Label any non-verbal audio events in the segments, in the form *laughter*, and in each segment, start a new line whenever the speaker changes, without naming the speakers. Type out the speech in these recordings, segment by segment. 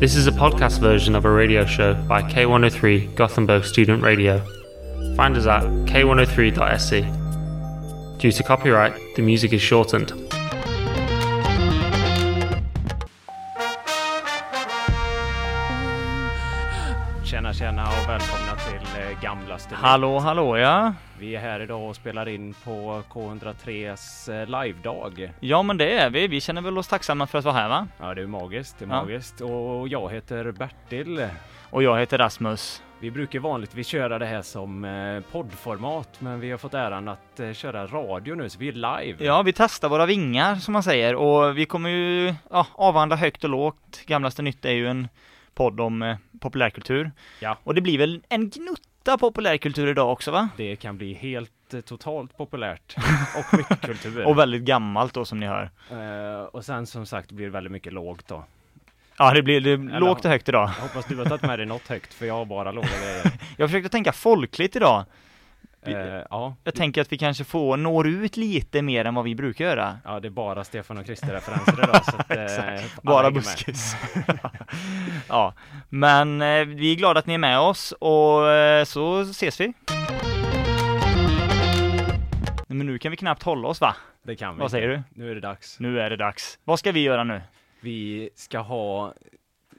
This is a podcast version of a radio show by K103 Gothenburg Student Radio. Find us at k103.se. E. Due to copyright, the music is shortened.
Tjena tjena och välkomna till eh, Gamla Stil.
Hallå, hallå ja.
Vi är här idag och spelar in på K103s eh, livedag.
Ja men det är vi. Vi känner väl oss tacksamma för att vara här va?
Ja det är magiskt, det är
Ja.
magiskt. Och jag heter Bertil.
Och jag heter Rasmus.
Vi brukar vanligtvis köra det här som eh, poddformat men vi har fått äran att eh, köra radio nu så vi är live.
Ja, vi testar våra vingar som man säger och vi kommer ju ja, avhandla högt och lågt. Gamlaste nytt är ju en podd om eh, populärkultur.
Ja.
Och det blir väl en gnutta populärkultur idag också va?
Det kan bli helt eh, totalt populärt
*laughs*
och mycket kultur.
Och väldigt gammalt då som ni hör.
Eh, och sen som sagt blir det väldigt mycket lågt då.
Ja, det blir det blir lågt och högt idag.
Jag hoppas du har tagit med dig något högt för jag har bara låga grejer.
Jag försökte tänka folkligt idag. *laughs* Vi-
Eh, ja.
Jag tänker att vi kanske får, når ut lite mer än vad vi brukar göra.
Ja, det är bara Stefan och Christer-referenser idag. Så
*laughs*
att, eh, alla
Bara
hänger med.
buskis. *laughs* ja, men eh, vi är glada att ni är med oss och eh, så ses vi. Nej, Men nu kan vi knappt hålla oss va?
Det kan vi.
Vad säger du?
Nu är det dags.
Nu är det dags. Vad ska vi göra nu?
Vi ska ha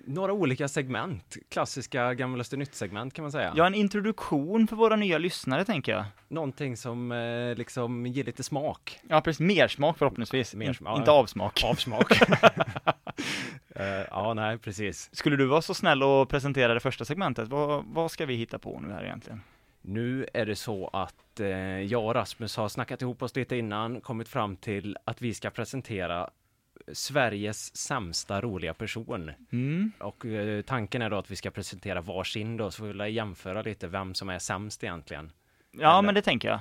några olika segment. Klassiska gamla nytt-segment kan man säga.
Ja, en introduktion för våra nya lyssnare tänker jag.
Någonting som eh, liksom ger lite smak.
Ja, precis. Mer smak förhoppningsvis.
Mer
In-
smak, ja.
Inte avsmak.
Avsmak. uh, ja, nej, precis.
*laughs* Skulle du vara så snäll och presentera det första segmentet? Vad, vad ska vi hitta på nu här egentligen?
Nu är det så att eh, jag och Rasmus har snackat ihop oss lite innan, kommit fram till att vi ska presentera Sveriges sämsta roliga person.
Mm.
Och eh, tanken är då att vi ska presentera varsin då, så vi vill jämföra lite vem som är sämst egentligen.
Ja,
Eller-
men det tänker jag.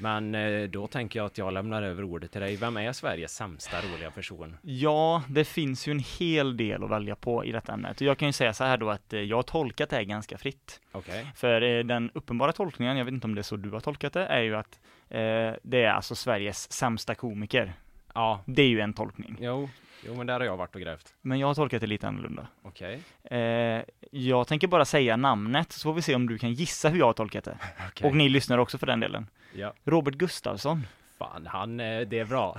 Men eh, då tänker jag att jag lämnar över ordet till dig. Vem är Sveriges sämsta roliga person?
Ja, det finns ju en hel del att välja på i detta ämnet. Och jag kan ju säga så här då att eh, jag har tolkat det här ganska fritt.
Okej.
För eh, den uppenbara tolkningen, jag vet inte om det är så du har tolkat det, är ju att eh, det är alltså Sveriges sämsta komiker.
Ja,
Det är ju en tolkning.
jo. Jo, men där har jag varit och grävt.
Men jag har tolkat det lite annorlunda.
Okej.
Eh, jag tänker bara säga namnet, så får vi se om du kan gissa hur jag har tolkat det.
Okej.
Och ni lyssnar också för den delen.
Ja,
Robert Gustafsson.
fan, han, eh, det är
*laughs*
bra.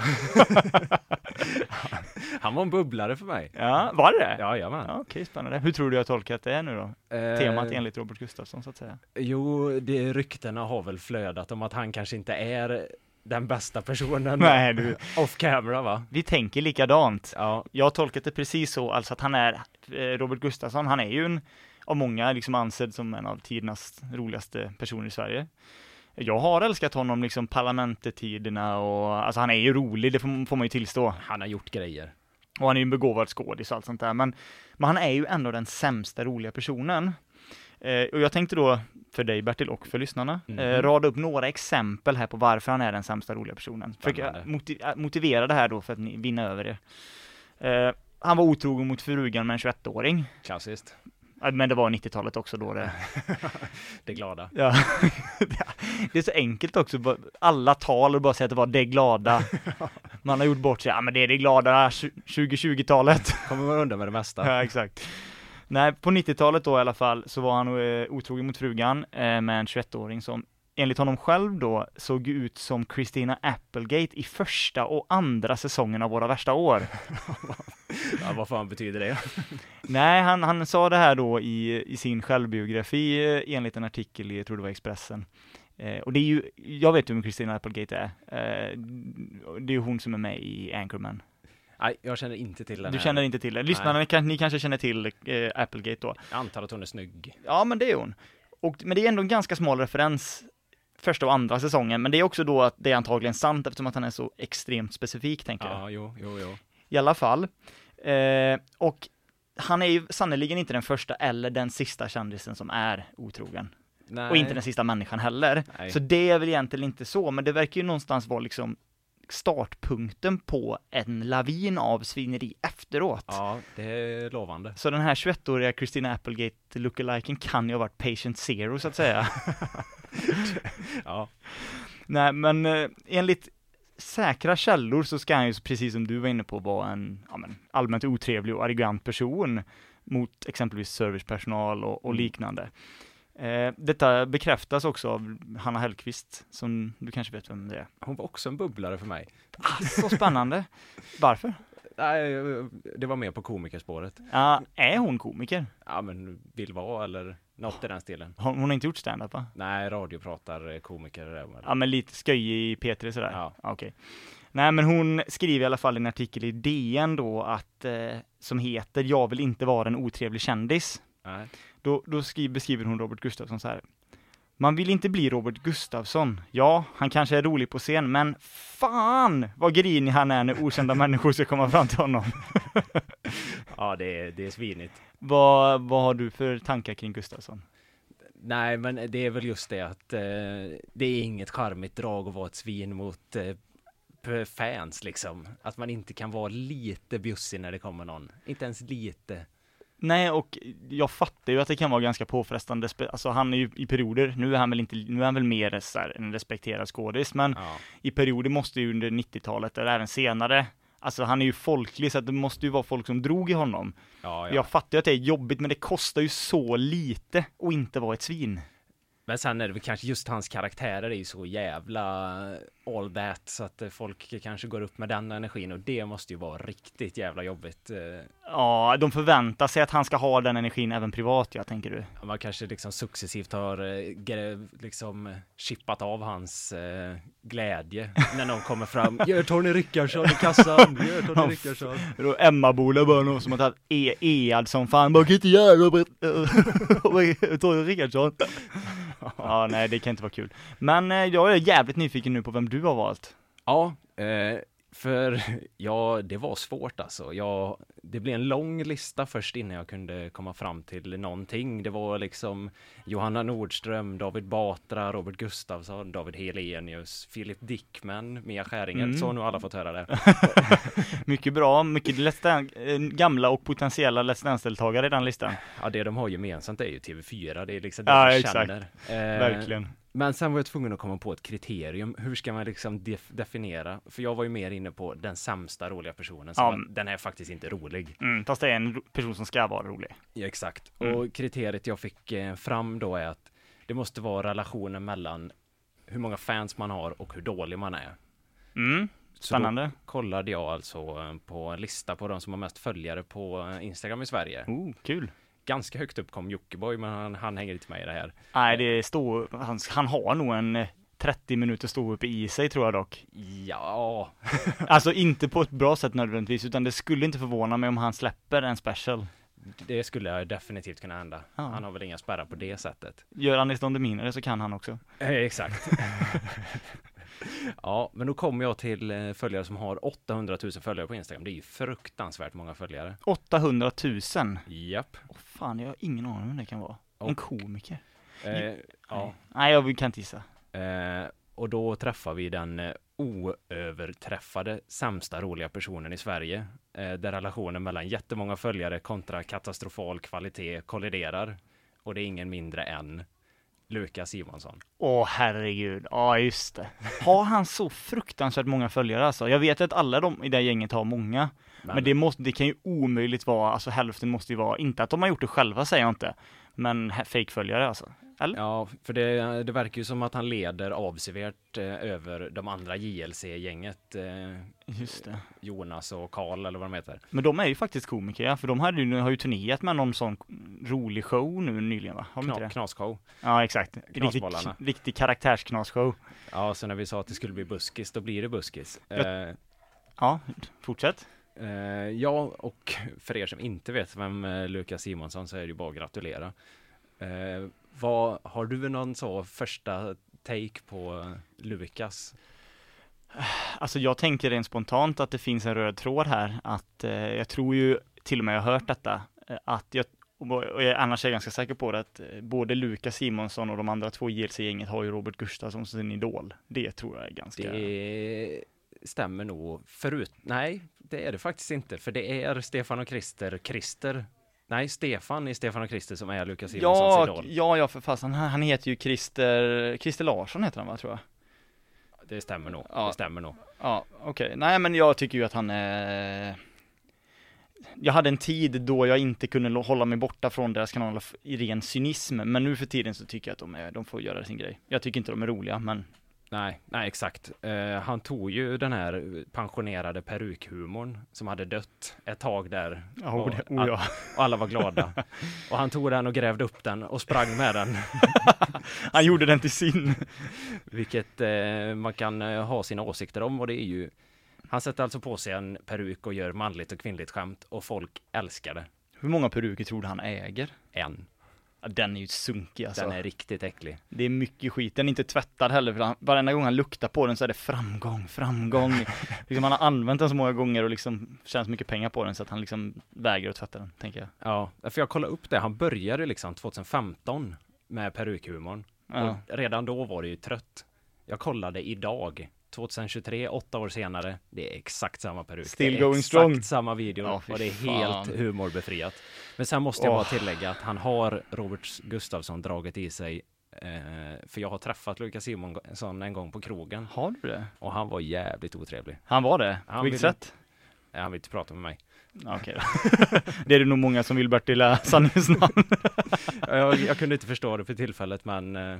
han var en bubblare för mig.
Ja, var det det?
Jajamän.
Ja, Okej, spännande. Hur tror du jag har tolkat det nu då?
Eh,
Temat enligt Robert Gustafsson så att säga.
Jo, det, ryktena har väl flödat om att han kanske inte är den bästa personen.
Nej, du.
Off camera, va?
Vi tänker likadant.
Ja,
Jag har tolkat det precis så, alltså att han är, eh, Robert Gustafsson, han är ju en, av många liksom ansedd som en av tidernas roligaste personer i Sverige. Jag har älskat honom liksom parlamentet-tiderna och, alltså han är ju rolig, det får, får man ju tillstå.
han har gjort grejer.
Och han är ju en begåvad skådis och allt sånt där, men, men han är ju ändå den sämsta roliga personen. Eh, och jag tänkte då, för dig Bertil och för lyssnarna, eh,
Mhm.
rada upp några exempel här på varför han är den sämsta roliga personen. Försöka
Spännande.
moti- äh, motivera det här då för att ni, vinna över er. Eh, han var otrogen mot frugan med en 21-åring.
Klassiskt.
Ja, Men det var 90-talet också
*laughs*
då det...
Det glada.
Ja. *laughs* det är så enkelt också, bara- alla tal och bara säga att det var
*laughs*
det glada. Man har gjort bort sig, ja men det är det glada 2020-talet.
Kommer man undan med det *laughs* mesta.
Ja, exakt. Nej, på 90-talet då i alla fall så var han eh, otrogen mot frugan eh, med en 21-åring som enligt honom själv då såg ut som Christina Applegate i första och andra säsongen av Våra värsta år.
Ja, vad fan betyder det?
Nej, han, han sa det här då i, i sin självbiografi eh, enligt en artikel i, jag tror det var Expressen. Eh, och det är ju, jag vet ju vem Christina Applegate är. Eh, det är ju hon som är med i Anchorman.
Nej, jag känner inte till den
Du
här.
känner inte till det? Lyssnarna, kan, ni kanske känner till eh, Applegate då?
Jag antar att hon är snygg.
Ja, men det är hon. Och, men det är ändå en ganska smal referens första och andra säsongen, men det är också då att det är antagligen sant eftersom att han är så extremt specifik, tänker jag.
Ja, jo, jo, jo.
I alla fall. Eh, och han är ju sannerligen inte den första eller den sista kändisen som är otrogen.
Nej.
Och inte den sista människan heller.
Nej.
Så det är väl egentligen inte så, men det verkar ju någonstans vara liksom startpunkten på en lavin av svineri efteråt.
Ja, det är lovande.
Så den här 21-åriga Christina Applegate lookaliken kan ju ha varit patient zero så att säga.
Ja,
Nej, men eh, enligt säkra källor så ska han ju, precis som du var inne på, vara en ja, men, allmänt otrevlig och arrogant person. mot exempelvis servicepersonal och, och liknande. Eh, detta bekräftas också av Hanna Hellqvist, som du kanske vet vem det är.
Hon var också en bubblare för mig.
Ah, så spännande! Varför?
Nej, det var mer på komikerspåret.
Ja, är hon komiker?
Ja, men vill vara eller något i den stilen.
Hon, hon har inte gjort standup va?
Nej, radiopratar komiker eller
Ja, men lite sköjig i P3 sådär?
Ja.
Okej. Nej, men hon skriver i alla fall i en artikel i DN då att, eh, som heter Jag vill inte vara en otrevlig kändis.
Nej.
Då, då skri- beskriver hon Robert Gustafsson så här. Man vill inte bli Robert Gustafsson. Ja, han kanske är rolig på scen, men fan vad grinig han är när okända *laughs* människor ska komma fram till honom.
Ja, det är, det är svinigt.
Vad, vad har du för tankar kring Gustafsson?
Nej, men det är väl just det att eh, det är inget charmigt drag att vara ett svin mot eh, p- fans liksom. Att man inte kan vara lite bjussig när det kommer någon. Inte ens lite.
Nej, och jag fattar ju att det kan vara ganska påfrestande. spe- Alltså han är ju i perioder, nu är han väl inte, nu är han väl mer så här, en respekterad skådis, men
Ja.
i perioder måste ju under 90-talet eller även senare, alltså han är ju folklig så att det måste ju vara folk som drog i honom.
Ja, ja.
Jag fattar ju att det är jobbigt men det kostar ju så lite att inte vara ett svin.
Men sen är det väl kanske just hans karaktärer är ju så jävla all that så att eh, folk kanske går upp med den energin och det måste ju vara riktigt jävla jobbigt. eh,
Ja, de förväntar sig att han ska ha den energin även privat, jag tänker du.
Ja, Man kanske liksom successivt har eh, gre- liksom eh, chippat av hans eh, glädje när någon kommer fram. *laughs* Gör Tony Rickardsson i kassan! Gör
Ja,
Tony
*laughs*
Rickardsson!
Då Emmaboda bara någon som har tagit e Ead som fan, bara kan inte göra *laughs* Robert
*laughs*
Torje Rickardsson. Ja, nej det kan inte vara kul. Men eh, jag är jävligt nyfiken nu på vem du har valt.
*laughs* Ja, eh, för ja, det var svårt alltså. Jag, det blev en lång lista först innan jag kunde komma fram till någonting. Det var liksom Johanna Nordström, David Batra, Robert Gustafsson, David Helenius, Philip Dickman, Mia Skäringer.
Mm.
Så nu har alla fått höra det.
Mycket bra, mycket Let's Dance- eh, gamla och potentiella Let's Dance-deltagare i den listan.
Ja, det de har gemensamt är ju TV4. Det är liksom det
Ja,
man
exakt.
känner. Eh,
Verkligen.
Men sen var jag tvungen att komma på ett kriterium. Hur ska man liksom def- definiera? För jag var ju mer inne på den sämsta roliga personen. Som
Ja,
att
men-
den är faktiskt inte rolig.
Mm, fast det är en ro- person som ska vara rolig.
Ja, exakt.
Mm.
Och kriteriet jag fick eh, fram då är att det måste vara relationen mellan hur många fans man har och hur dålig man är.
Mm,
Så då
spännande.
kollade jag alltså eh, på en lista på de som har mest följare på eh, Instagram i Sverige.
Oh, kul.
Ganska högt upp kom Jockiboi, men han, han hänger inte med i det här.
Nej, det står, han, han har nog en eh, 30 minuter stå uppe i sig tror
*laughs*
jag dock.
Ja,
Alltså inte på ett bra sätt nödvändigtvis, utan det skulle inte förvåna mig om han släpper en special.
det skulle jag definitivt kunna hända.
Ja.
Han har väl inga spärrar på det sättet.
Gör Anis Don Demina det så kan han också.
Eh, exakt. ja, men då kommer jag till eh, följare som har 800 000 följare på Instagram. Det är ju fruktansvärt många följare.
800 000!
Japp.
Åh fan, jag har ingen aning om vem det kan vara. En
Och-
komiker?
Eh, ja.
Nej, jag kan inte gissa.
Eh, och då träffar vi den eh, oöverträffade sämsta roliga personen i Sverige. Eh, där relationen mellan jättemånga följare kontra katastrofal kvalitet kolliderar. Och det är ingen mindre än Lukas Simonsson.
Åh herregud, ja just det. *laughs* Har han så fruktansvärt många följare alltså? Jag vet att alla de i det här gänget har många, men, det, måste, det kan ju omöjligt vara, alltså hälften måste ju vara, inte att de har gjort det själva säger jag inte, men he- fejkföljare alltså.
Ja, för det, det verkar ju som att han leder avsevärt eh, över de andra JLC-gänget. Eh,
Just det.
Jonas och Karl eller vad de heter.
Men de är ju faktiskt komiker ja, för de hade ju, har ju turnerat med någon sån rolig show nu nyligen va? Har de inte
Kna,
det?
knasshow.
Ja exakt. Riktig,
Knasbollarna.
riktig karaktärsknasshow.
Ja, så när vi sa att det skulle bli buskis, då blir det buskis. Eh,
Ja, fortsätt.
Eh, ja, och för er som inte vet vem eh, Lukas Simonsson så är det ju bara att gratulera. Eh, vad, har du någon så första take på eh, Lukas?
Alltså jag tänker rent spontant att det finns en röd tråd här, att eh, jag tror ju, till och med jag har hört detta, eh, att jag, och och jag, annars är jag ganska säker på det, att eh, både Lukas Simonsson och de andra två JLC-gänget har ju Robert Gustafsson som sin idol. Det tror jag är ganska...
Det stämmer nog förut. Nej, det är det faktiskt inte, för det är Stefan och Christer, Christer. Nej, Stefan i Stefan och Christer som är Lukas Simonssons
Ja,
idol.
ja, ja för fasen, han, han heter ju Christer, Christer Larsson heter han va, tror jag?
Det stämmer nog.
Ja.
Det stämmer nog.
Ja, okej. Nej, men jag tycker ju att han är... jag hade en tid då jag inte kunde lo- hålla mig borta från deras kanaler f- i ren cynism, men nu för tiden så tycker jag att de, är, de får göra sin grej. Jag tycker inte de är roliga, men
Nej, nej exakt. Eh, han tog ju den här pensionerade perukhumorn som hade dött ett tag där.
Ja,
och,
oh, det- oh, ja.
att- och alla var glada. och han tog den och grävde upp den och sprang med den.
*laughs* han gjorde den till sin.
Vilket eh, man kan eh, ha sina åsikter om och det är ju han sätter alltså på sig en peruk och gör manligt och kvinnligt skämt och folk älskar det.
Hur många peruker tror du han äger?
En.
Ja, den är ju sunkig alltså.
Den är riktigt äcklig.
Det är mycket skit, den är inte tvättad heller för han, varenda gång han luktar på den så är det framgång, *laughs* framgång. liksom han har använt den så många gånger och liksom tjänat så mycket pengar på den så att han liksom vägrar att tvätta den, tänker jag.
Ja, för jag kollade upp det. Han började liksom 2015 med perukhumorn.
Ja.
Och redan då var det ju trött. Jag kollade idag, 2023, åtta år senare. Det är exakt samma peruk.
Still
det är
going
exakt
strong.
samma video
Ja, fy
och det är
fan.
helt humorbefriat. Men sen måste jag bara
Åh.
tillägga att han har Robert Gustafsson dragit i sig eh, för jag har träffat Lukas Simonsson en gång på krogen
Har du det?
och han var jävligt otrevlig.
Han var det?
Han
På vilket
ville-
sätt?
Eh, Han vill inte prata med mig.
Ja, Okej då. *laughs* Det är det nog många som vill *laughs* Bertilla sanningens namn.
Jag, jag kunde inte förstå det för tillfället, men eh,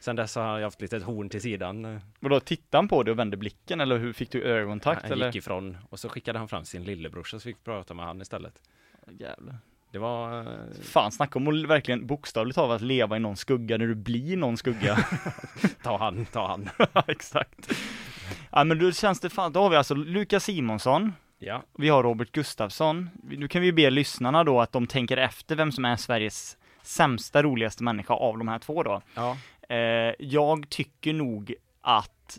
sen dess har jag haft lite ett horn till sidan. eh.
Vadå, tittade han på dig och vände blicken eller hur fick du ögonkontakt
han
eller?
gick ifrån och så skickade han fram sin lillebrorsa så fick vi prata med han istället.
Jävlar.
Det var... eh,
Fan, snacka om att verkligen bokstavligt talat att leva i någon skugga när du blir någon skugga. *laughs*
Ta han, ta han.
Exakt. Ja men då känns det fan, då har vi alltså Lukas Simonsson,
*laughs* Ja,
vi har Robert Gustafsson. Vi- Nu kan vi be lyssnarna då att de tänker efter vem som är Sveriges sämsta, roligaste människa av de här två då.
ja.
Eh, jag tycker nog att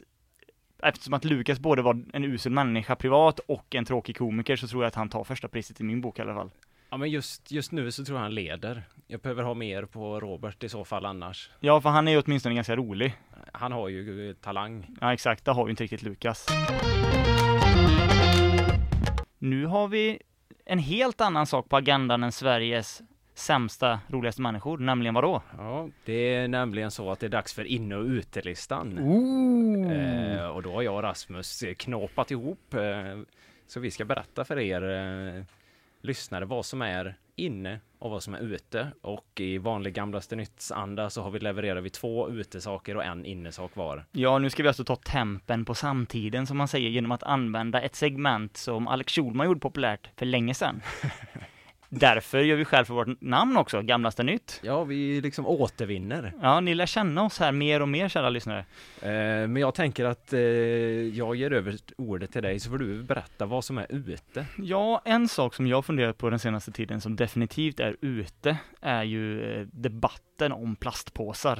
Eftersom att Lukas både var en usel människa privat och en tråkig komiker så tror jag att han tar första priset i min bok i alla fall.
ja men just, just nu så tror jag han leder. Jag behöver ha mer på Robert i så fall annars.
Ja, för han är ju åtminstone ganska rolig.
Han har ju eh, talang.
Ja, exakt. Där har vi inte riktigt Lukas. Nu har vi en helt annan sak på agendan än Sveriges sämsta, roligaste människor, nämligen vadå?
Ja, det är nämligen så att det är dags för inne och utelistan.
Ooh.
Eh, och då har jag och Rasmus eh, knåpat ihop. Eh, så vi ska berätta för er eh, lyssnare vad som är inne och vad som är ute. Och i vanlig gamlaste nyttsanda så har vi levererat vi två utesaker och en innesak var.
Ja, nu ska vi alltså ta tempen på samtiden som man säger genom att använda ett segment som Alex Schulman gjorde populärt för länge sedan. Därför gör vi själv för vårt namn också, Gamlaste Nytt.
Ja, vi liksom återvinner.
Ja, ni lär känna oss här mer och mer, kära lyssnare.
Eh, men jag tänker att eh, jag ger över ordet till dig så får du berätta vad som är ute.
Ja, en sak som jag funderat på den senaste tiden som definitivt är ute är ju eh, debatten om plastpåsar.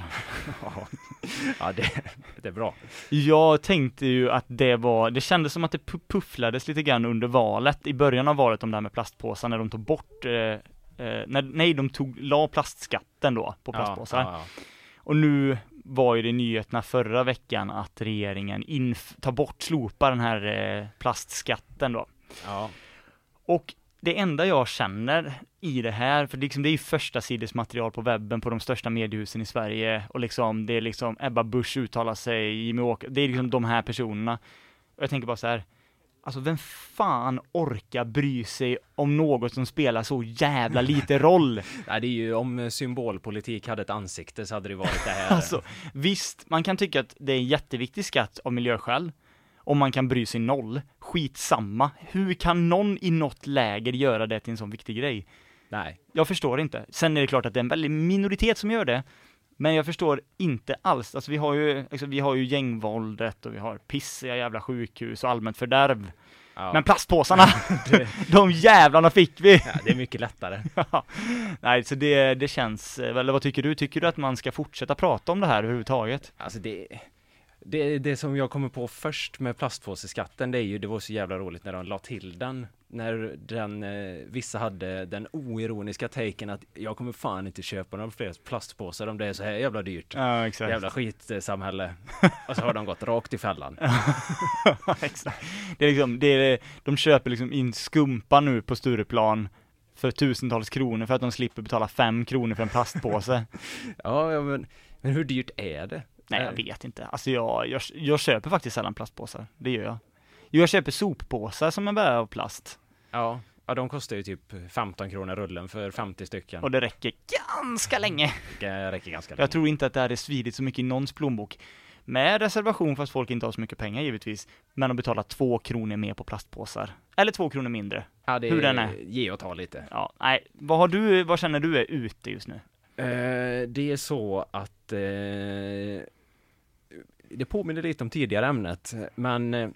ja, det, *laughs* det är bra.
Jag tänkte ju att det var, det kändes som att det pu- pufflades lite grann under valet, i början av valet om det här med plastpåsar när de tog bort eh, eh, när, nej, de tog, la plastskatten då på plastpåsar.
Ja, ja, ja.
Och nu var ju det i nyheterna förra veckan att regeringen inf- tar bort, slopar den här eh, plastskatten då.
ja.
Och det enda jag känner i det här, för liksom det är ju första sidesmaterial på webben på de största mediehusen i Sverige och liksom det är liksom Ebba Busch uttalar sig, Jimmie Åk, det är liksom de här personerna. Och jag tänker bara så här, alltså vem fan orkar bry sig om något som spelar så jävla lite roll?
Nej, det är ju om symbolpolitik hade ett ansikte så hade det varit det här.
*laughs* Alltså, visst, man kan tycka att det är en jätteviktig skatt av miljöskäl, om man kan bry sig noll, skitsamma. Hur kan någon i något läger göra det till en sån viktig grej?
Nej.
Jag förstår inte. Sen är det klart att det är en väldig minoritet som gör det, men jag förstår inte alls. Alltså vi har ju, liksom, vi har ju gängvåldet och vi har pissiga jävla sjukhus och allmänt fördärv.
Ja.
Men *laughs* plastpåsarna, de jävlarna fick vi! *laughs*
ja, det är mycket lättare.
Nej, så det, det känns, eh, eller vad tycker du? Tycker du att man ska fortsätta prata om det här överhuvudtaget?
Alltså det, det, det som jag kommer på först med plastpåseskatten, det är ju, det var så jävla roligt när de la till den. När den, eh, vissa hade den oironiska taken att jag kommer fan inte köpa några fler plastpåsar om det är så här jävla dyrt.
Ja, exakt. *laughs*
Jävla skitsamhälle. Och så har de gått rakt i fällan.
exakt. Det är liksom, det är, de köper liksom in skumpa nu på Stureplan för tusentals kronor för att de slipper betala fem kronor för en plastpåse.
Ja, ja, men, men hur dyrt är det?
Nej,
Eh.
jag vet inte. Alltså jag, jag, jag köper faktiskt sällan plastpåsar. Det gör jag. Jo, jag köper soppåsar som är bärare av plast.
Ja, Ja, de kostar ju typ 15 kronor rullen för 50 stycken.
Och det räcker ganska länge.
Det räcker ganska länge.
Jag tror inte att det hade svidit så mycket i någons plånbok. Med reservation för att folk inte har så mycket pengar givetvis, men de betalar två kronor mer på plastpåsar. Eller två kronor mindre.
Ja, det
hur den är.
Ge och ta lite.
Ja, nej. Vad har du, vad känner du är ute just nu?
Eh, det är så att eh, det påminner lite om tidigare ämnet, men eh,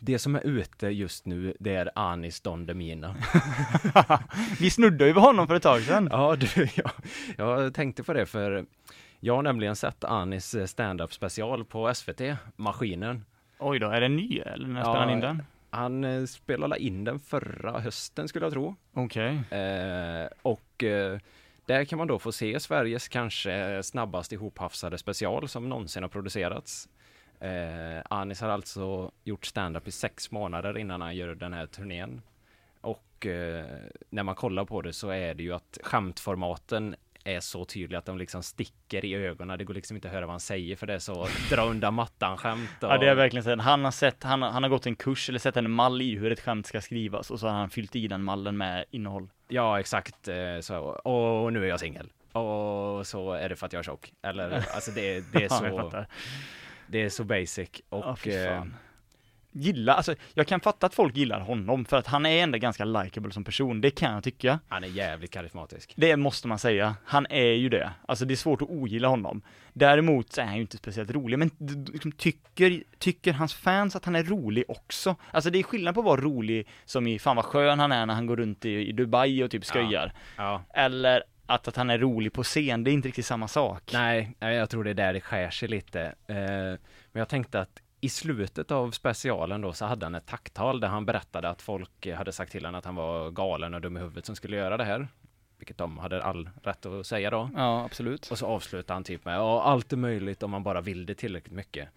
det som är ute just nu, det är Anis Don Demina.
Vi snuddade ju vid honom för ett tag sedan.
Ja, du, jag, jag tänkte på det för jag har nämligen sett Anis eh, stand-up special på SVT, Maskinen.
Oj då, är den ny eller när
Ja,
spelar han in den?
Han eh, spelade in den förra hösten skulle jag tro.
Okej.
Eh, och eh, där kan man då få se Sveriges kanske snabbast ihophafsade special som någonsin har producerats. Eh, Anis har alltså gjort stand-up i sex månader innan han gör den här turnén. Och eh, när man kollar på det så är det ju att skämtformaten är så tydliga att de liksom sticker i ögonen. Det går liksom inte att höra vad han säger för det är så dra undan mattan-skämt. och-
Ja det är verkligen så. Han har sett, han, har- han har gått en kurs eller sett en mall i hur ett skämt ska skrivas och så har han fyllt i den mallen med innehåll.
Ja, exakt. eh, Så, och nu är jag singel. Och så är det för att jag är tjock. Eller, alltså det, det, är,
*laughs* Ja, jag
så,
fattar.
det är så basic.
Ja,
Och
fy
eh,
fan. Gilla, alltså jag kan fatta att folk gillar honom för att han är ändå ganska likable som person, det kan jag tycka.
han är jävligt karismatisk.
Det måste man säga, han är ju det. Alltså det är svårt att ogilla honom. Däremot så är han ju inte speciellt rolig, men d- d- liksom, tycker, tycker hans fans att han är rolig också? Alltså det är skillnad på att vara rolig som i fan vad skön han är när han går runt i, i Dubai och typ skojar.
Ja.
Eller att, att han är rolig på scen, det är inte riktigt samma sak.
Nej, nej, jag tror det är där det skär sig lite. Eh, Men jag tänkte att i slutet av specialen då så hade han ett tacktal där han berättade att folk eh, hade sagt till honom att han var galen och dum i huvudet som skulle göra det här. Vilket de hade all rätt att säga då.
Ja, absolut.
Och så avslutar han typ med ja, allt är möjligt om man bara vill det tillräckligt mycket.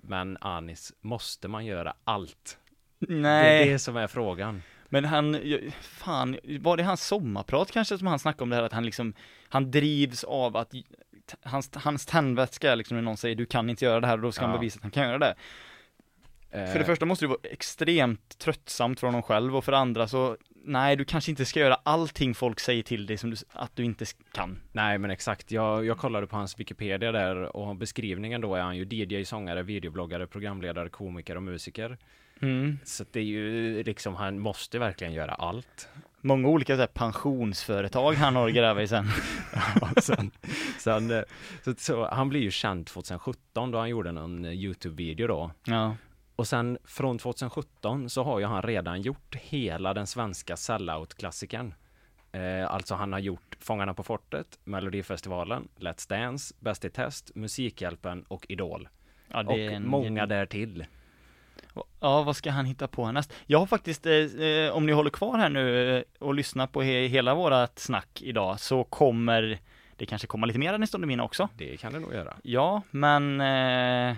Men Anis, måste man göra allt? Det
Nej,
är det som är frågan.
men han, jag- fan, var det hans sommarprat kanske som han snackade om det här att han liksom, han drivs av att t- hans, hans tändvätska är liksom när någon säger du kan inte göra det här och då ska han
Ja.
bevisa att han kan göra det. För det
Eh,
första måste det vara extremt tröttsamt för honom själv och för det andra så, nej du kanske inte ska göra allting folk säger till dig som du, s- att du inte s- kan.
nej men exakt, jag, jag kollade på hans Wikipedia där och beskrivningen då är han ju DJ, sångare, videobloggare, programledare, komiker och musiker.
Mm.
Så att det är ju liksom, han måste verkligen göra allt.
Många olika så här, pensionsföretag han har att gräva i sen.
Och sen, sen, eh, så, så, han blir ju känd 2017 då han gjorde någon eh, YouTube-video då.
Ja.
Och sen från 2017 så har ju han redan gjort hela den svenska sellout-klassikern. Eh, alltså han har gjort Fångarna på fortet, Melodifestivalen, Let's Dance, Bäst i test, Musikhjälpen och Idol.
Ja,
Och många
geni-
därtill.
Ja, vad ska han hitta på härnäst? Jag har faktiskt, eh, eh, om ni håller kvar här nu eh, och lyssnar på he- hela vårat snack idag så kommer det kanske komma lite mer än en stund i mina också.
Det kan det nog göra.
Ja, men eh,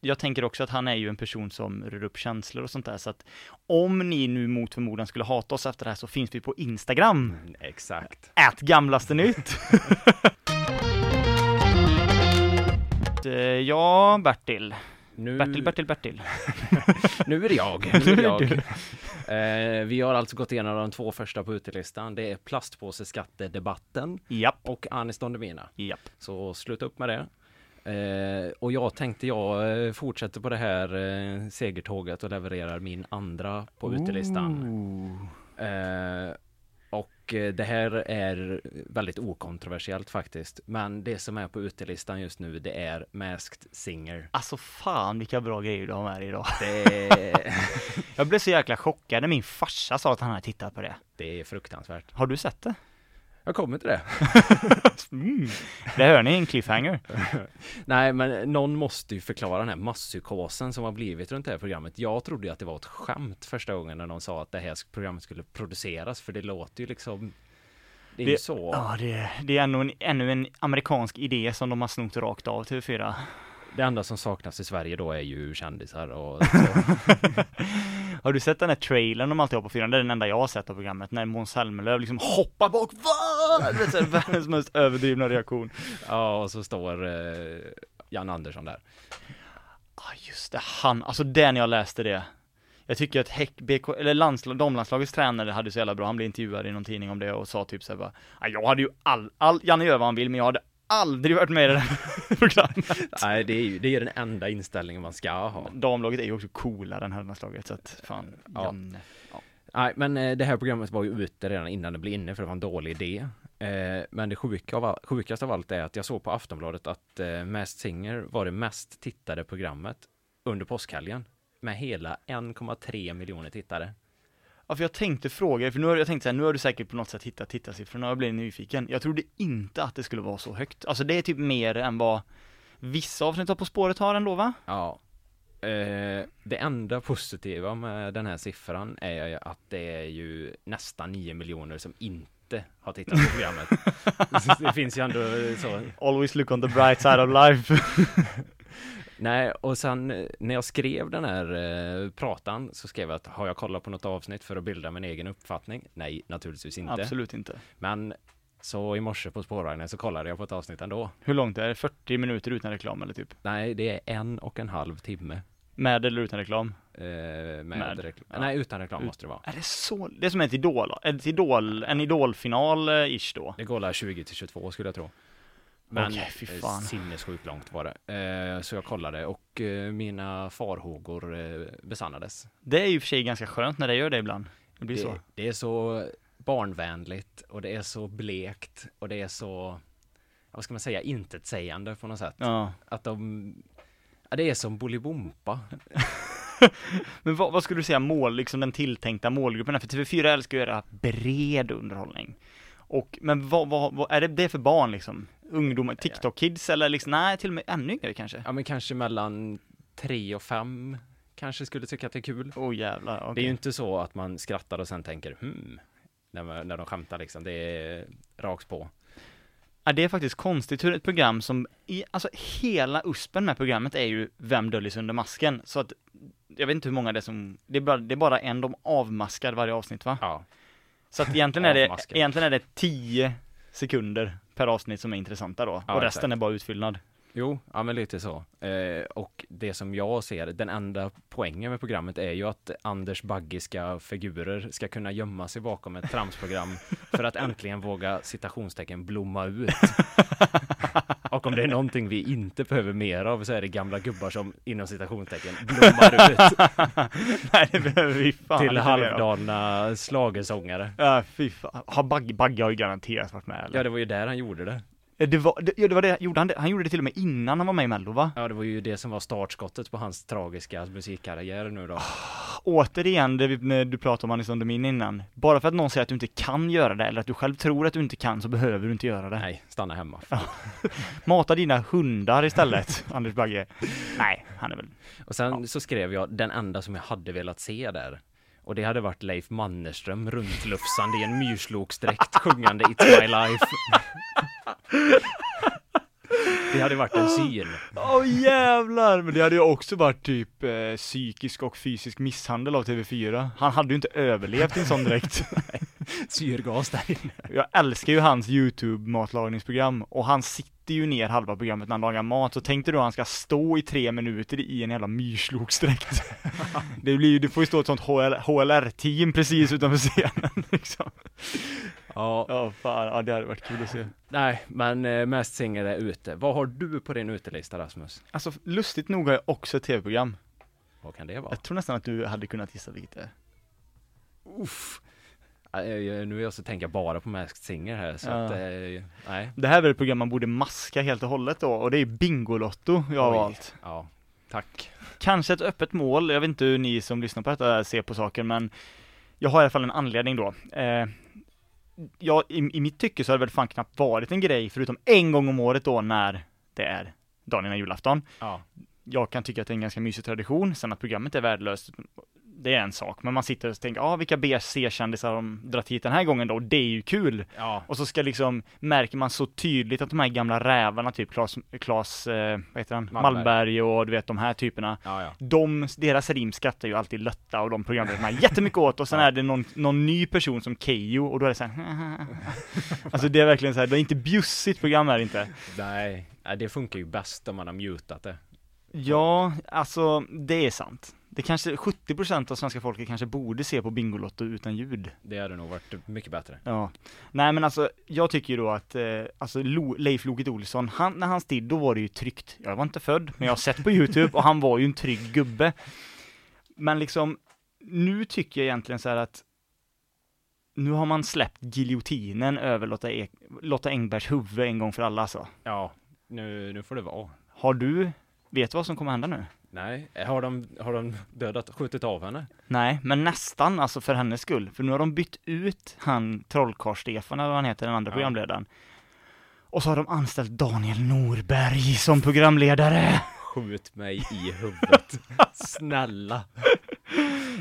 jag tänker också att han är ju en person som rör upp känslor och sånt där så att om ni nu mot förmodan skulle hata oss efter det här så finns vi på Instagram,
Mm, Exakt.
ät gamlaste nytt. *laughs* Eh, Ja, Bertil.
Nu,
Bertil, Bertil, Bertil.
*laughs* nu är det jag. Nu är det jag. eh, vi har alltså gått igenom de två första på utelistan. Det är plastpåseskattedebatten
Japp,
och Anis Don Demina.
japp.
Så sluta upp med det. Eh, och jag tänkte jag eh, fortsätter på det här eh, segertåget och levererar min andra på utelistan. Eh, och eh, det här är väldigt okontroversiellt faktiskt. Men det som är på utelistan just nu det är Masked Singer.
Alltså fan vilka bra grejer du har med dig idag. *laughs*
Det är, *laughs*
Jag blev så jäkla chockad när min farsa sa att han hade tittat på det.
det är fruktansvärt.
Har du sett det?
Jag kommer till det.
Mm. Det hör ni, en cliffhanger.
Nej men någon måste ju förklara den här masspsykosen som har blivit runt det här programmet. Jag trodde ju att det var ett skämt första gången när de sa att det här sk- programmet skulle produceras för det låter ju liksom Det är ju
Det-
så.
Ja, det, det är ännu en, ännu en amerikansk idé som de har snott rakt av TV4.
Det enda som saknas i Sverige då är ju kändisar och
*laughs* Har du sett den här trailern de alltid har på fyran? Det är den enda jag har sett av programmet, när Måns Zelmerlöw liksom hoppar bak, va? *laughs* Det är så här Världens mest överdrivna reaktion.
ja, och så står eh, Jan Andersson där.
Ja, ah, just det, han, alltså det när jag läste det. Jag tycker att Häck, BK, eller landslag, damlandslagets tränare hade så jävla bra, han blev intervjuad i någon tidning om det och sa typ såhär bara, "Ja, jag hade ju all, all, Janne gör vad han vill men jag hade aldrig varit med i det här *laughs* programmet.
Nej, det är ju det är ju den enda inställningen man ska ha.
Damlaget är ju också coolare än herrlandslaget så att fan,
Ja.
Janne.
Nej, men eh, det här programmet var ju ute redan innan det blev inne för det var en dålig idé. Eh, Men det sjuka av all, sjukaste av allt är att jag såg på Aftonbladet att eh, Masked Singer var det mest tittade programmet under påskhelgen. Med hela 1,3 miljoner tittare.
Ja, för jag tänkte fråga dig, för nu har jag tänkt så här, nu har du säkert på något sätt hittat tittarsiffrorna och jag blev nyfiken. Jag trodde inte att det skulle vara så högt. Alltså det är typ mer än vad vissa avsnitt av På spåret har ändå va?
Ja. Eh, Det enda positiva med den här siffran är ju att det är ju nästan 9 miljoner som inte har tittat på programmet. Så det finns ju ändå eh, så
Always look on the bright side of life.
Nej, och sen eh, när jag skrev den här eh, pratan så skrev jag att har jag kollat på något avsnitt för att bilda min egen uppfattning? Nej, naturligtvis inte.
Absolut inte.
Men så i morse på spårvagnen så kollade jag på ett avsnitt ändå.
Hur långt är det? 40 minuter utan reklam eller typ?
Nej, det är en och en halv timme.
Med eller utan reklam?
eh, med
Med, Mm.
reklam.
ja.
Nej, utan reklam
Ut-
måste det vara.
Är det så? Det är som ett idol, ett idol en idolfinal-ish då?
Det går där 20 till 22 skulle jag tro. Men
Okej, fy
eh,
fan.
sinnessjukt långt var det. Eh, så jag kollade och eh, mina farhågor eh, besannades.
Det är ju i och för sig ganska skönt när det gör det ibland. Det blir så.
Det, det är så barnvänligt och det är så blekt och det är så, ja, vad ska man säga, intetsägande på något sätt.
Ja.
Att de, ja, det är som Bolibompa.
Men vad, vad skulle du säga mål, liksom den tilltänkta målgruppen är? För TV4 älskar ju att göra bred underhållning. Och, men vad, vad, vad är det, det är för barn liksom? Ungdomar, TikTok-kids eller liksom, nej till och med ännu yngre kanske?
Ja, men kanske mellan tre och fem kanske skulle tycka att det är kul.
Åh oh, jävlar, okej.
Det är ju inte så att man skrattar och sen tänker hmm, när, man, när de skämtar liksom. Det är rakt på.
Ja, det är faktiskt konstigt hur ett program som, i, alltså hela uspen med programmet är ju Vem döljer under masken? Så att, jag vet inte hur många det är som, det är bara, det är bara en de avmaskar varje avsnitt va?
Ja,
Så att egentligen är det,
Avmaskar.
egentligen är det 10 sekunder per avsnitt som är intressanta då,
Ja,
och resten
exakt.
är bara *laughs* utfyllnad.
Jo, ja men lite så. Eh, och det som jag ser, den enda poängen med programmet är ju att Anders Baggiska figurer ska kunna gömma sig bakom ett tramsprogram för att äntligen våga citationstecken blomma ut. och om det är någonting vi inte behöver mer av så är det gamla gubbar som inom citationstecken blommar
*laughs*
ut
Nej det behöver vi fan
till
inte göra.
halvdana schlagersångare.
Ja fy fan, har Bagge, Bagge har ju garanterat varit med eller?
Ja, det var ju där han gjorde det.
Ja, det var, det, ja, det var det, gjorde han det, han gjorde det till och med innan han var med i mello va?
Ja, det var ju det som var startskottet på hans tragiska musikkarriär nu då.
återigen det vi, när du pratade om Anis on the Min innan. Bara för att någon säger att du inte kan göra det, eller att du själv tror att du inte kan, så behöver du inte göra det.
Nej, stanna hemma.
Mata dina hundar *laughs* istället, Anders Bagge. Nej, han är väl...
Och sen så skrev jag den enda som jag hade velat se där. Och det hade varit Leif Mannerström runtlufsande i en myrsloksträkt sjungande It's My Life. Det hade varit en syn.
Åh jävlar! Men det hade ju också varit typ eh, psykisk och fysisk misshandel av TV4. Han hade ju inte överlevt i en sån *laughs* direkt.
Syrgas där inne.
Jag älskar ju hans YouTube-matlagningsprogram, och han sitter ju ner halva programmet när han lagar mat, så tänkte du att han ska stå i tre minuter i en jävla *laughs* myrsloksträkt. Det blir ju, det får ju stå ett sånt HL, HLR-team precis utanför scenen liksom.
Ja.
Ja, fan, ja det hade varit kul att se.
Nej, men eh, Masked Singer är ute. Vad har du på din utelista Rasmus?
Alltså, lustigt nog har jag också ett tv-program.
Vad kan det vara?
Jag tror nästan att du hade kunnat gissa vilket det är.
Uff. eh, Nu är jag så tänker jag bara på Masked Singer här så
Ja.
att, eh, nej.
Det här är väl ett program man borde maska helt och hållet då, och det är Bingolotto jag har
Oj.
valt.
Ja, tack.
Kanske ett öppet mål, jag vet inte hur ni som lyssnar på detta ser på saken, men jag har i alla fall en anledning då. Eh, ja, i, I mitt tycke så har det väl fan knappt varit en grej, förutom en gång om året då när det är dagen innan julafton.
Ja.
Jag kan tycka att det är en ganska mysig tradition, sen att programmet är värdelöst, det är en sak, men man sitter och tänker, ja ah, vilka BSC-kändisar har de dragit hit den här gången då, och det är ju kul.
Ja.
Och så ska liksom, märker man så tydligt att de här gamla rävarna, typ Klas, Klas eh, vad heter han,
Malmberg.
Malmberg. och du vet de här typerna,
Ja, ja.
de, deras rim skrattar ju alltid Lötta och de programledarna jättemycket åt och sen är det någon, någon ny person som Keyyo och då är det så här. *laughs* Alltså det är verkligen så här, det är inte bjussigt program här inte.
Nej, nej, det funkar ju bäst om man har mutat det.
Ja, alltså det är sant. Det kanske, 70% av svenska folket kanske borde se på Bingolotto utan ljud.
Det hade nog varit mycket bättre.
Ja. Nej men alltså, jag tycker ju då att, eh, alltså Lo, Leif Loket Olsson, han, när hans tid, då var det ju tryggt. Jag var inte född, men jag har sett på YouTube och han var ju en trygg gubbe. Men liksom, nu tycker jag egentligen så här att, nu har man släppt giljotinen över Lotta, Ek, Lotta Engbergs huvud en gång för alla alltså.
Ja, nu, nu får det vara.
Har du, vet du vad som kommer hända nu?
Nej, har de, har de dödat, skjutit av henne?
Nej, men nästan alltså för hennes skull. För nu har de bytt ut han trollkarl-Stefan eller vad han heter, den andra
Ja.
programledaren. Och så har de anställt Daniel Norberg som programledare.
Skjut mig i huvudet. *laughs* Snälla.
*laughs*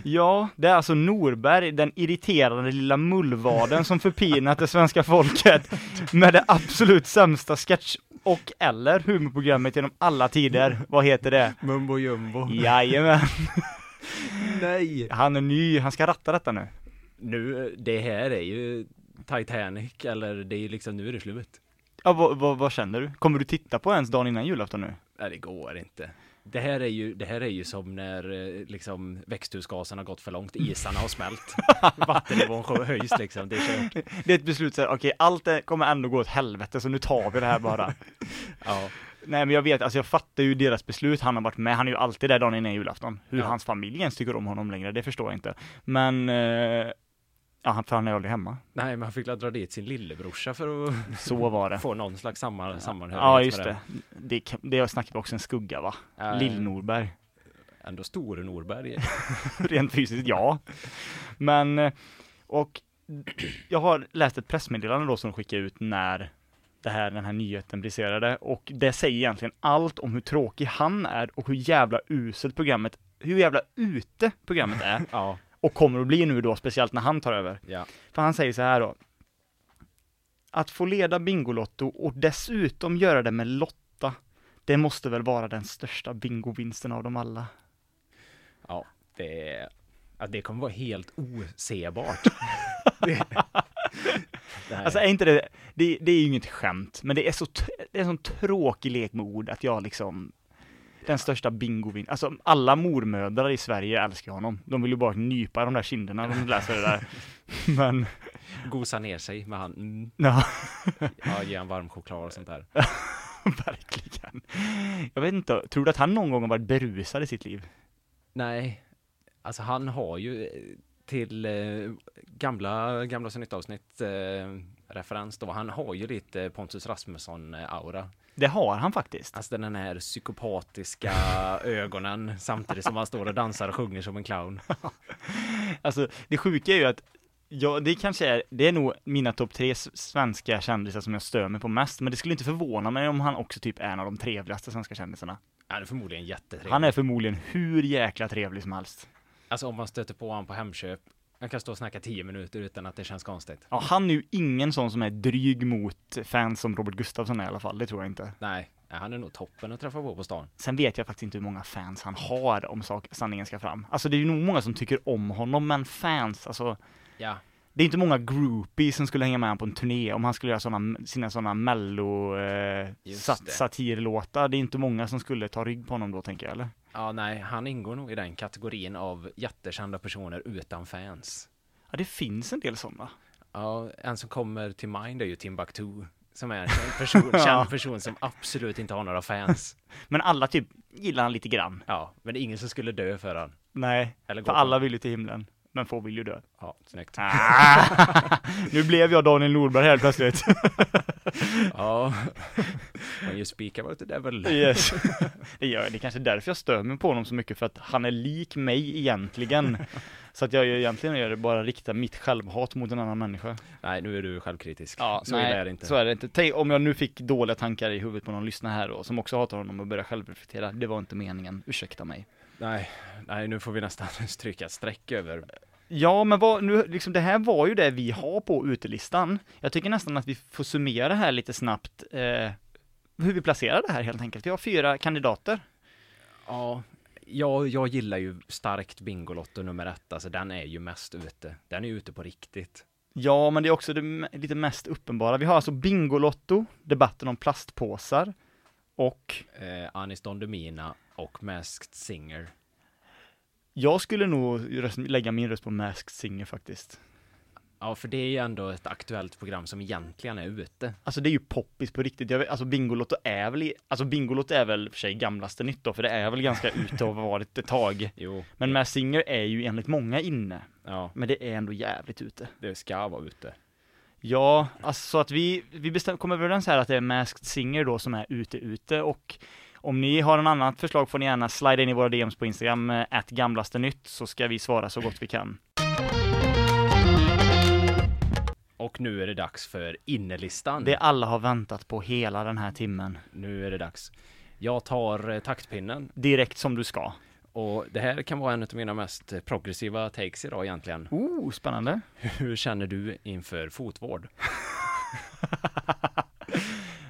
Ja, det är alltså Norberg, den irriterande lilla mullvaden som förpinat det svenska folket med det absolut sämsta sketch och eller humorprogrammet genom alla tider. Vad heter det?
Mumbo jumbo.
Jajamän,
Nej.
han är ny, han ska ratta detta nu.
Nu, det här är ju Titanic, eller det är ju liksom, nu är det slut.
Ja, vad, vad, vad känner du? Kommer du titta på ens dagen innan julafton nu?
Nej, det går inte. Det här är ju, det här är ju som när eh, liksom växthusgasen har gått för långt, isarna har *laughs* smält, vattennivån sjö- höjs liksom, det är kört.
Det är ett beslut såhär, okej allt det kommer ändå gå åt helvete så nu tar vi det här bara.
Ja,
Nej men jag vet, alltså jag fattar ju deras beslut, han har varit med, han är ju alltid där dagen innan julafton. Hur
Ja.
hans familj ens tycker om honom längre, det förstår jag inte. Men, eh, ja han- för han är aldrig hemma.
nej, man fick väl dra dit sin lillebrorsa för att
Så
*laughs*
var det.
få någon slags samma, sammanhörighet
Ja
med Eh,
just
den.
det. Det, kan- det har snackat också en skugga va?
Ja,
Lill-Norberg.
Ändå Store Norberg.
*laughs* Rent fysiskt, ja. Men, eh, och jag har läst ett pressmeddelande då som de skickade ut när det här, den här nyheten briserade och det säger egentligen allt om hur tråkig han är och hur jävla uselt programmet, hur jävla ute programmet är
*laughs* Ja,
och kommer att bli nu då, speciellt när han tar över.
ja.
För han säger så här då. Att få leda Bingolotto och dessutom göra det med Lotta, det måste väl vara den största bingovinsten av dem alla.
Ja, det, ja, det kommer vara helt
*laughs*
osebart. det, nej.
Alltså är inte det, det, det är ju inget skämt, men det är så, t- det är en sån tråkig lek med ord att jag liksom den största bingovin, alltså alla mormödrar i Sverige älskar ju honom. De vill ju bara nypa de där kinderna när de läser det där. Men, *laughs* eh-
Gosa ner sig med han, mm,
ja,
ja, ge han varm choklad och sånt där.
verkligen. Jag vet inte, tror du att han någon gång har varit berusad i sitt liv?
Nej, alltså han har ju eh, till eh, gamla, gamla så nytt avsnitt eh, referens då. Han har ju lite Pontus Rasmusson-aura.
Det har han faktiskt.
Alltså den här psykopatiska ögonen samtidigt som han står och dansar och sjunger som en clown.
Alltså, det sjuka är ju att Ja, det kanske är, det är nog mina topp tre s- svenska kändisar som jag stör mig på mest, men det skulle inte förvåna mig om han också typ är en av de trevligaste svenska kändisarna.
Han är förmodligen jättetrevlig.
Typ. Han är förmodligen hur jäkla trevlig som helst.
Alltså om man stöter på honom på Hemköp. Han kan stå och snacka 10 minuter utan att det känns konstigt.
Ja, han är ju ingen sån som är dryg mot fans som Robert Gustafsson är i alla fall, det tror jag inte.
Nej, nej, han är nog toppen att träffa på på stan.
Sen vet jag faktiskt inte hur många fans han har om sak, sanningen ska fram. Alltså det är ju nog många som tycker om honom, men fans, alltså
Ja,
det är inte många groupies som skulle hänga med honom på en turné om han skulle göra såna, sina sådana mello eh,
Just
sat,
det.
satirlåtar. Det är inte många som skulle ta rygg på honom då tänker jag, eller?
ja nej, han ingår nog i den kategorin av jättekända personer utan fans.
Ja, det finns en del sådana.
Ja, en som kommer till mind är ju Timbuktu. Som är en känd person,
*laughs* Ja.
känd person som absolut inte har några fans.
Men alla typ gillar han lite grann.
Ja, men det är ingen som skulle dö för han.
Nej,
Eller gå
för
på
alla
han.
vill ju till himlen, men få vill ju dö.
Ja, snyggt.
Ah, nu blev jag Daniel Norberg helt plötsligt.
Ja. *laughs* Men ju spikar var det där väl.
*laughs* Yes. Det, gör, jag. det är kanske därför jag stör mig på honom så mycket, för att han är lik mig *laughs* egentligen. Så att jag gör- egentligen gör det bara rikta mitt självhat mot en annan människa.
Nej, nu är du självkritisk. så illa är det inte.
Så är det inte. Tänk om jag nu fick dåliga tankar i huvudet på någon lyssnare här då, som också hatar honom och börjar självreflektera. Det var inte meningen, ursäkta mig.
Nej, nej, nu får vi nästan *laughs* stryka ett streck över.
Ja, men vad, nu, liksom, det här var ju det vi har på utelistan. Jag tycker nästan att vi får summera det här lite snabbt, eh, hur vi placerar det här helt enkelt. Vi har fyra kandidater.
Ja, jag, jag gillar ju starkt Bingolotto nummer ett. Alltså den är ju mest ute. Den är ju ute på riktigt.
Ja, men det är också det m- lite mest uppenbara. Vi har alltså Bingolotto, debatten om plastpåsar och
eh, Anis Don Demina och Masked Singer.
jag skulle nog röst- lägga min röst på Masked Singer faktiskt.
Ja, för det är ju ändå ett aktuellt program som egentligen är ute.
Alltså det är ju poppis på riktigt. Jag vet, alltså Bingolotto är väl, i- alltså Bingolotto är väl för sig gamlaste nytt då, för det är väl ganska ute och har varit ett tag.
Jo,
Men Masked Singer är ju enligt många inne,
ja,
men det är ändå jävligt ute.
det ska vara ute.
Ja, alltså så att vi, vi bestäm, kommer överens här att det är Masked Singer då som är ute ute och om ni har en annat förslag får ni gärna slida in i våra DMs på Instagram, att gamlaste nytt, så ska vi svara så gott vi kan.
Och nu är det dags för innerlistan.
Det alla har väntat på hela den här timmen,
Nu är det dags. Jag tar eh, taktpinnen
direkt som du ska.
och det här kan vara en av mina mest eh, progressiva takes idag
*laughs*
egentligen.
Oh, spännande.
Hur känner du inför fotvård?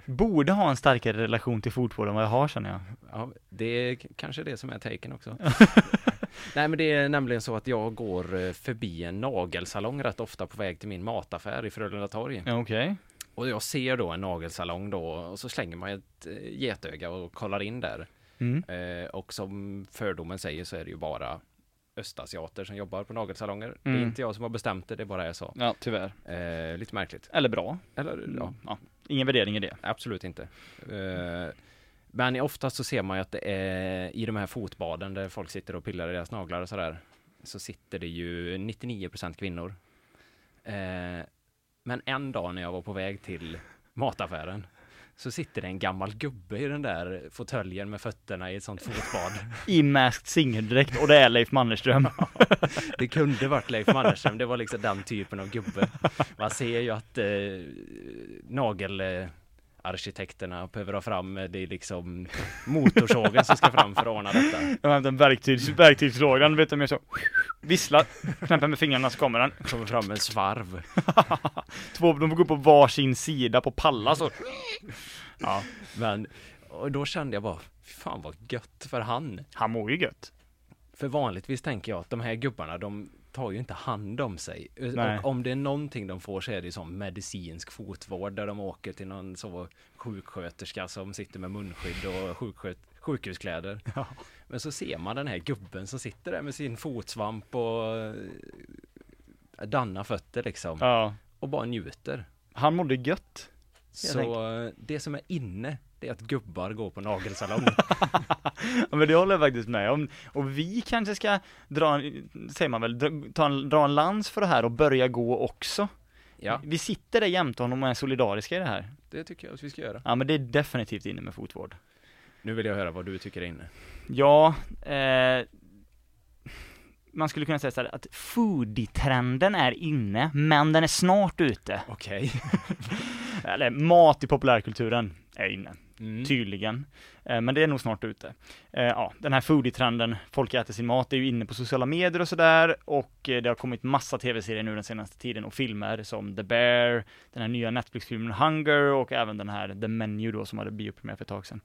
Borde ha en starkare relation till fotboll än vad jag har känner jag.
Ja, det är k- kanske det som är taken
*laughs*
också. Nej, men det är nämligen så att jag går eh, förbi en nagelsalong rätt ofta på väg till min mataffär i Frölunda torg.
Ja, Okej.
Och jag ser då en nagelsalong då och så slänger man ett eh, getöga och kollar in där.
Mm.
Eh, och som fördomen säger så är det ju bara östasiater som jobbar på nagelsalonger. Det
Mm.
är inte jag som har bestämt det, det bara är så.
Ja, tyvärr.
Eh, lite märkligt.
Eller bra.
Eller ja,
Ja. Mm. Ingen värdering i det.
absolut inte. Eh, men oftast så ser man ju att det är i de här fotbaden där folk sitter och pillar i deras naglar och sådär. Så sitter det ju 99% kvinnor. Eh, men en dag när jag var på väg till mataffären så sitter det en gammal gubbe i den där fåtöljen med fötterna i ett sånt fotbad.
I Masked Singer direkt, och det är Leif Mannerström.
Det kunde varit Leif Mannerström, det var liksom den typen av gubbe. Man ser ju att eh, nagelarkitekterna behöver ha fram, eh, det är liksom motorsågen som ska fram för att ordna detta.
Jag hämtar en verktygs, verktygslåda, du vet om jag så visslar, knäpper med fingrarna så kommer den.
Kommer fram med en svarv.
Två, de får gå på varsin sida på pallar så. Ja,
Alltså, Men, och då kände jag bara, "Fy fan vad gött för han.
han mår ju gött.
För vanligtvis tänker jag att de här gubbarna, de tar ju inte hand om sig.
Nej.
Och om det är någonting de får så är det ju som medicinsk fotvård där de åker till någon så sjuksköterska som sitter med munskydd och sjuksköt
*laughs*
sjukhuskläder. Men så ser man den här gubben som sitter där med sin fotsvamp och eh, danna fötter liksom
Ja,
och bara njuter.
han mådde gött.
Så eh, det som är inne, det är att gubbar går på
*laughs*
nagelsalong.
Ja, men det håller jag faktiskt med om. Och vi kanske ska dra, en- säger man väl, dra, ta en, dra en lans för det här och börja gå också.
ja,
Vi sitter där jämte honom och är solidariska i det här.
det tycker jag att vi ska göra.
Ja, men det är definitivt inne med fotvård.
Nu vill jag höra vad du tycker är inne.
Ja, eh, man skulle kunna säga så här att foodie-trenden är inne, men den är snart ute.
Okej.
Eller mat i populärkulturen är inne,
Mm.
Typ- tydligen. Eh, men det är nog snart ute. Eh, ja, den här foodie-trenden, folk äter sin mat, det är ju inne på sociala medier och sådär, och eh, det har kommit massa tv-serier nu den senaste tiden och filmer som The Bear, den här nya Netflix-filmen Hunger och även den här The Menu då som hade biopremiär för ett tag sedan.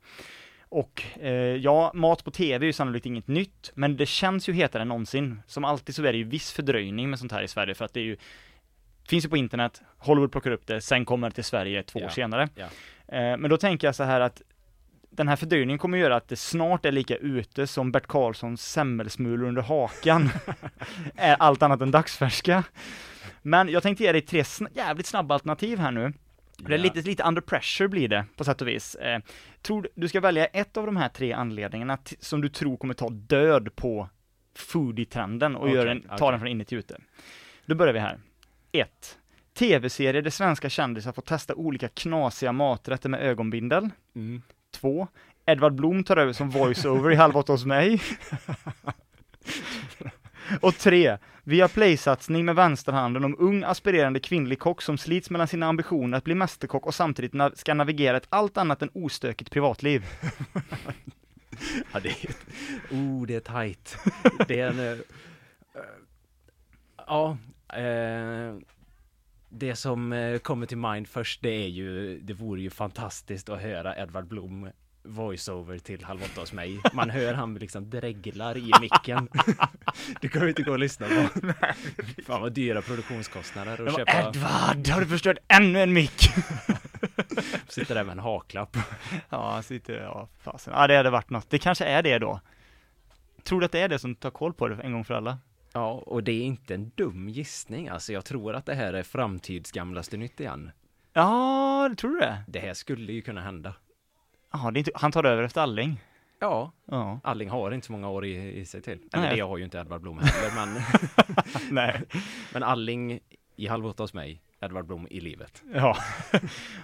Och eh, ja, mat på tv är ju sannolikt inget nytt, men det känns ju hetare än någonsin. Som alltid så är det ju viss fördröjning med sånt här i Sverige, för att det är ju Finns ju på internet, Hollywood plockar upp det, sen kommer det till Sverige två år
Ja,
senare.
ja.
Eh, men då tänker jag så här att den här fördröjningen kommer göra att det snart är lika ute som Bert Karlssons semmelsmulor
*laughs*
under hakan. är allt annat än dagsfärska. Men jag tänkte ge dig tre sn- jävligt snabba alternativ här nu. Det är
Ja.
lite, lite under pressure blir det, på sätt och vis. Eh, tror, du- du ska välja ett av de här tre anledningarna t- som du tror kommer ta död på foodie-trenden och
Okej,
gör en, ta
okej.
den från inuti ute. Då börjar vi här. 1. TV-serier där svenska kändisar får testa olika knasiga maträtter med ögonbindel.
Mm.
2. Edvard Blom tar över som voiceover i Halv åtta hos mig. *laughs* Och 3. Viaplay-satsning med vänsterhanden om ung aspirerande kvinnlig kock som slits mellan sina ambitioner att bli mästerkock och samtidigt na- ska navigera ett allt annat än ostökigt privatliv.
Ja, det är... *laughs* Oh, det är tajt. Det är en... eh, eh, Ja, eh, det som eh, kommer till mind först, det är ju, det vore ju fantastiskt att höra Edvard Blom voiceover till Halv åtta hos mig. Man hör han liksom dreglar i micken. Du kan ju inte gå och lyssna *laughs* på. Fan vad dyra produktionskostnader att köpa.
Edvard, har du förstört ännu en mick?
Sitter där med en haklapp.
*laughs* Ja, han sitter, ja, fasen. Ja, det hade varit något. Det kanske är det då. Tror du att det är det som tar koll på det en gång för alla?
Ja, och det är inte en dum gissning. Alltså, jag tror att det här är framtidsgamlaste nytt igen.
Ja, tror du det?
Det här skulle ju kunna hända.
Ja, det är inte, han tar över efter Alling.
Ja,
Ja.
Alling har inte så många år i, i sig till. Eller
Nej.
det har ju inte Edvard Blom heller, men, *laughs*
Nej.
men Alling i Halv åtta hos mig, Edvard Blom i livet.
Ja.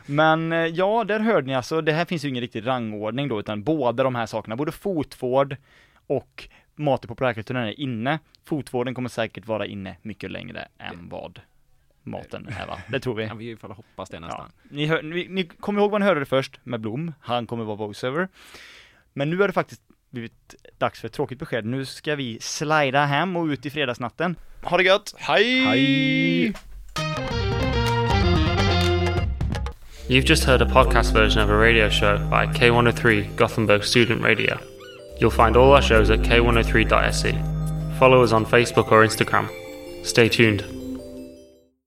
Men eh, ja, där hörde ni alltså, det här finns ju ingen riktig rangordning då, utan båda de här sakerna, både fotvård och mat i populärkulturen är inne. Fotvården kommer säkert vara inne mycket längre än vad maten är va? Det tror vi.
Kan vi ju fall hoppas det
Ja.
nästan.
Ni, hör, ni, ni kommer ihåg vad ni hörde det först med Blom, han kommer vara voiceover. Men nu har det faktiskt blivit dags för ett tråkigt besked. Nu ska vi slida hem och ut i fredagsnatten. Ha det gött, hej!
Hej!
You've just heard a podcast version of a radio show by K103 Gothenburg Student Radio. You'll find oh E. all our shows at k103.se. Follow us on Facebook or Instagram. Stay tuned.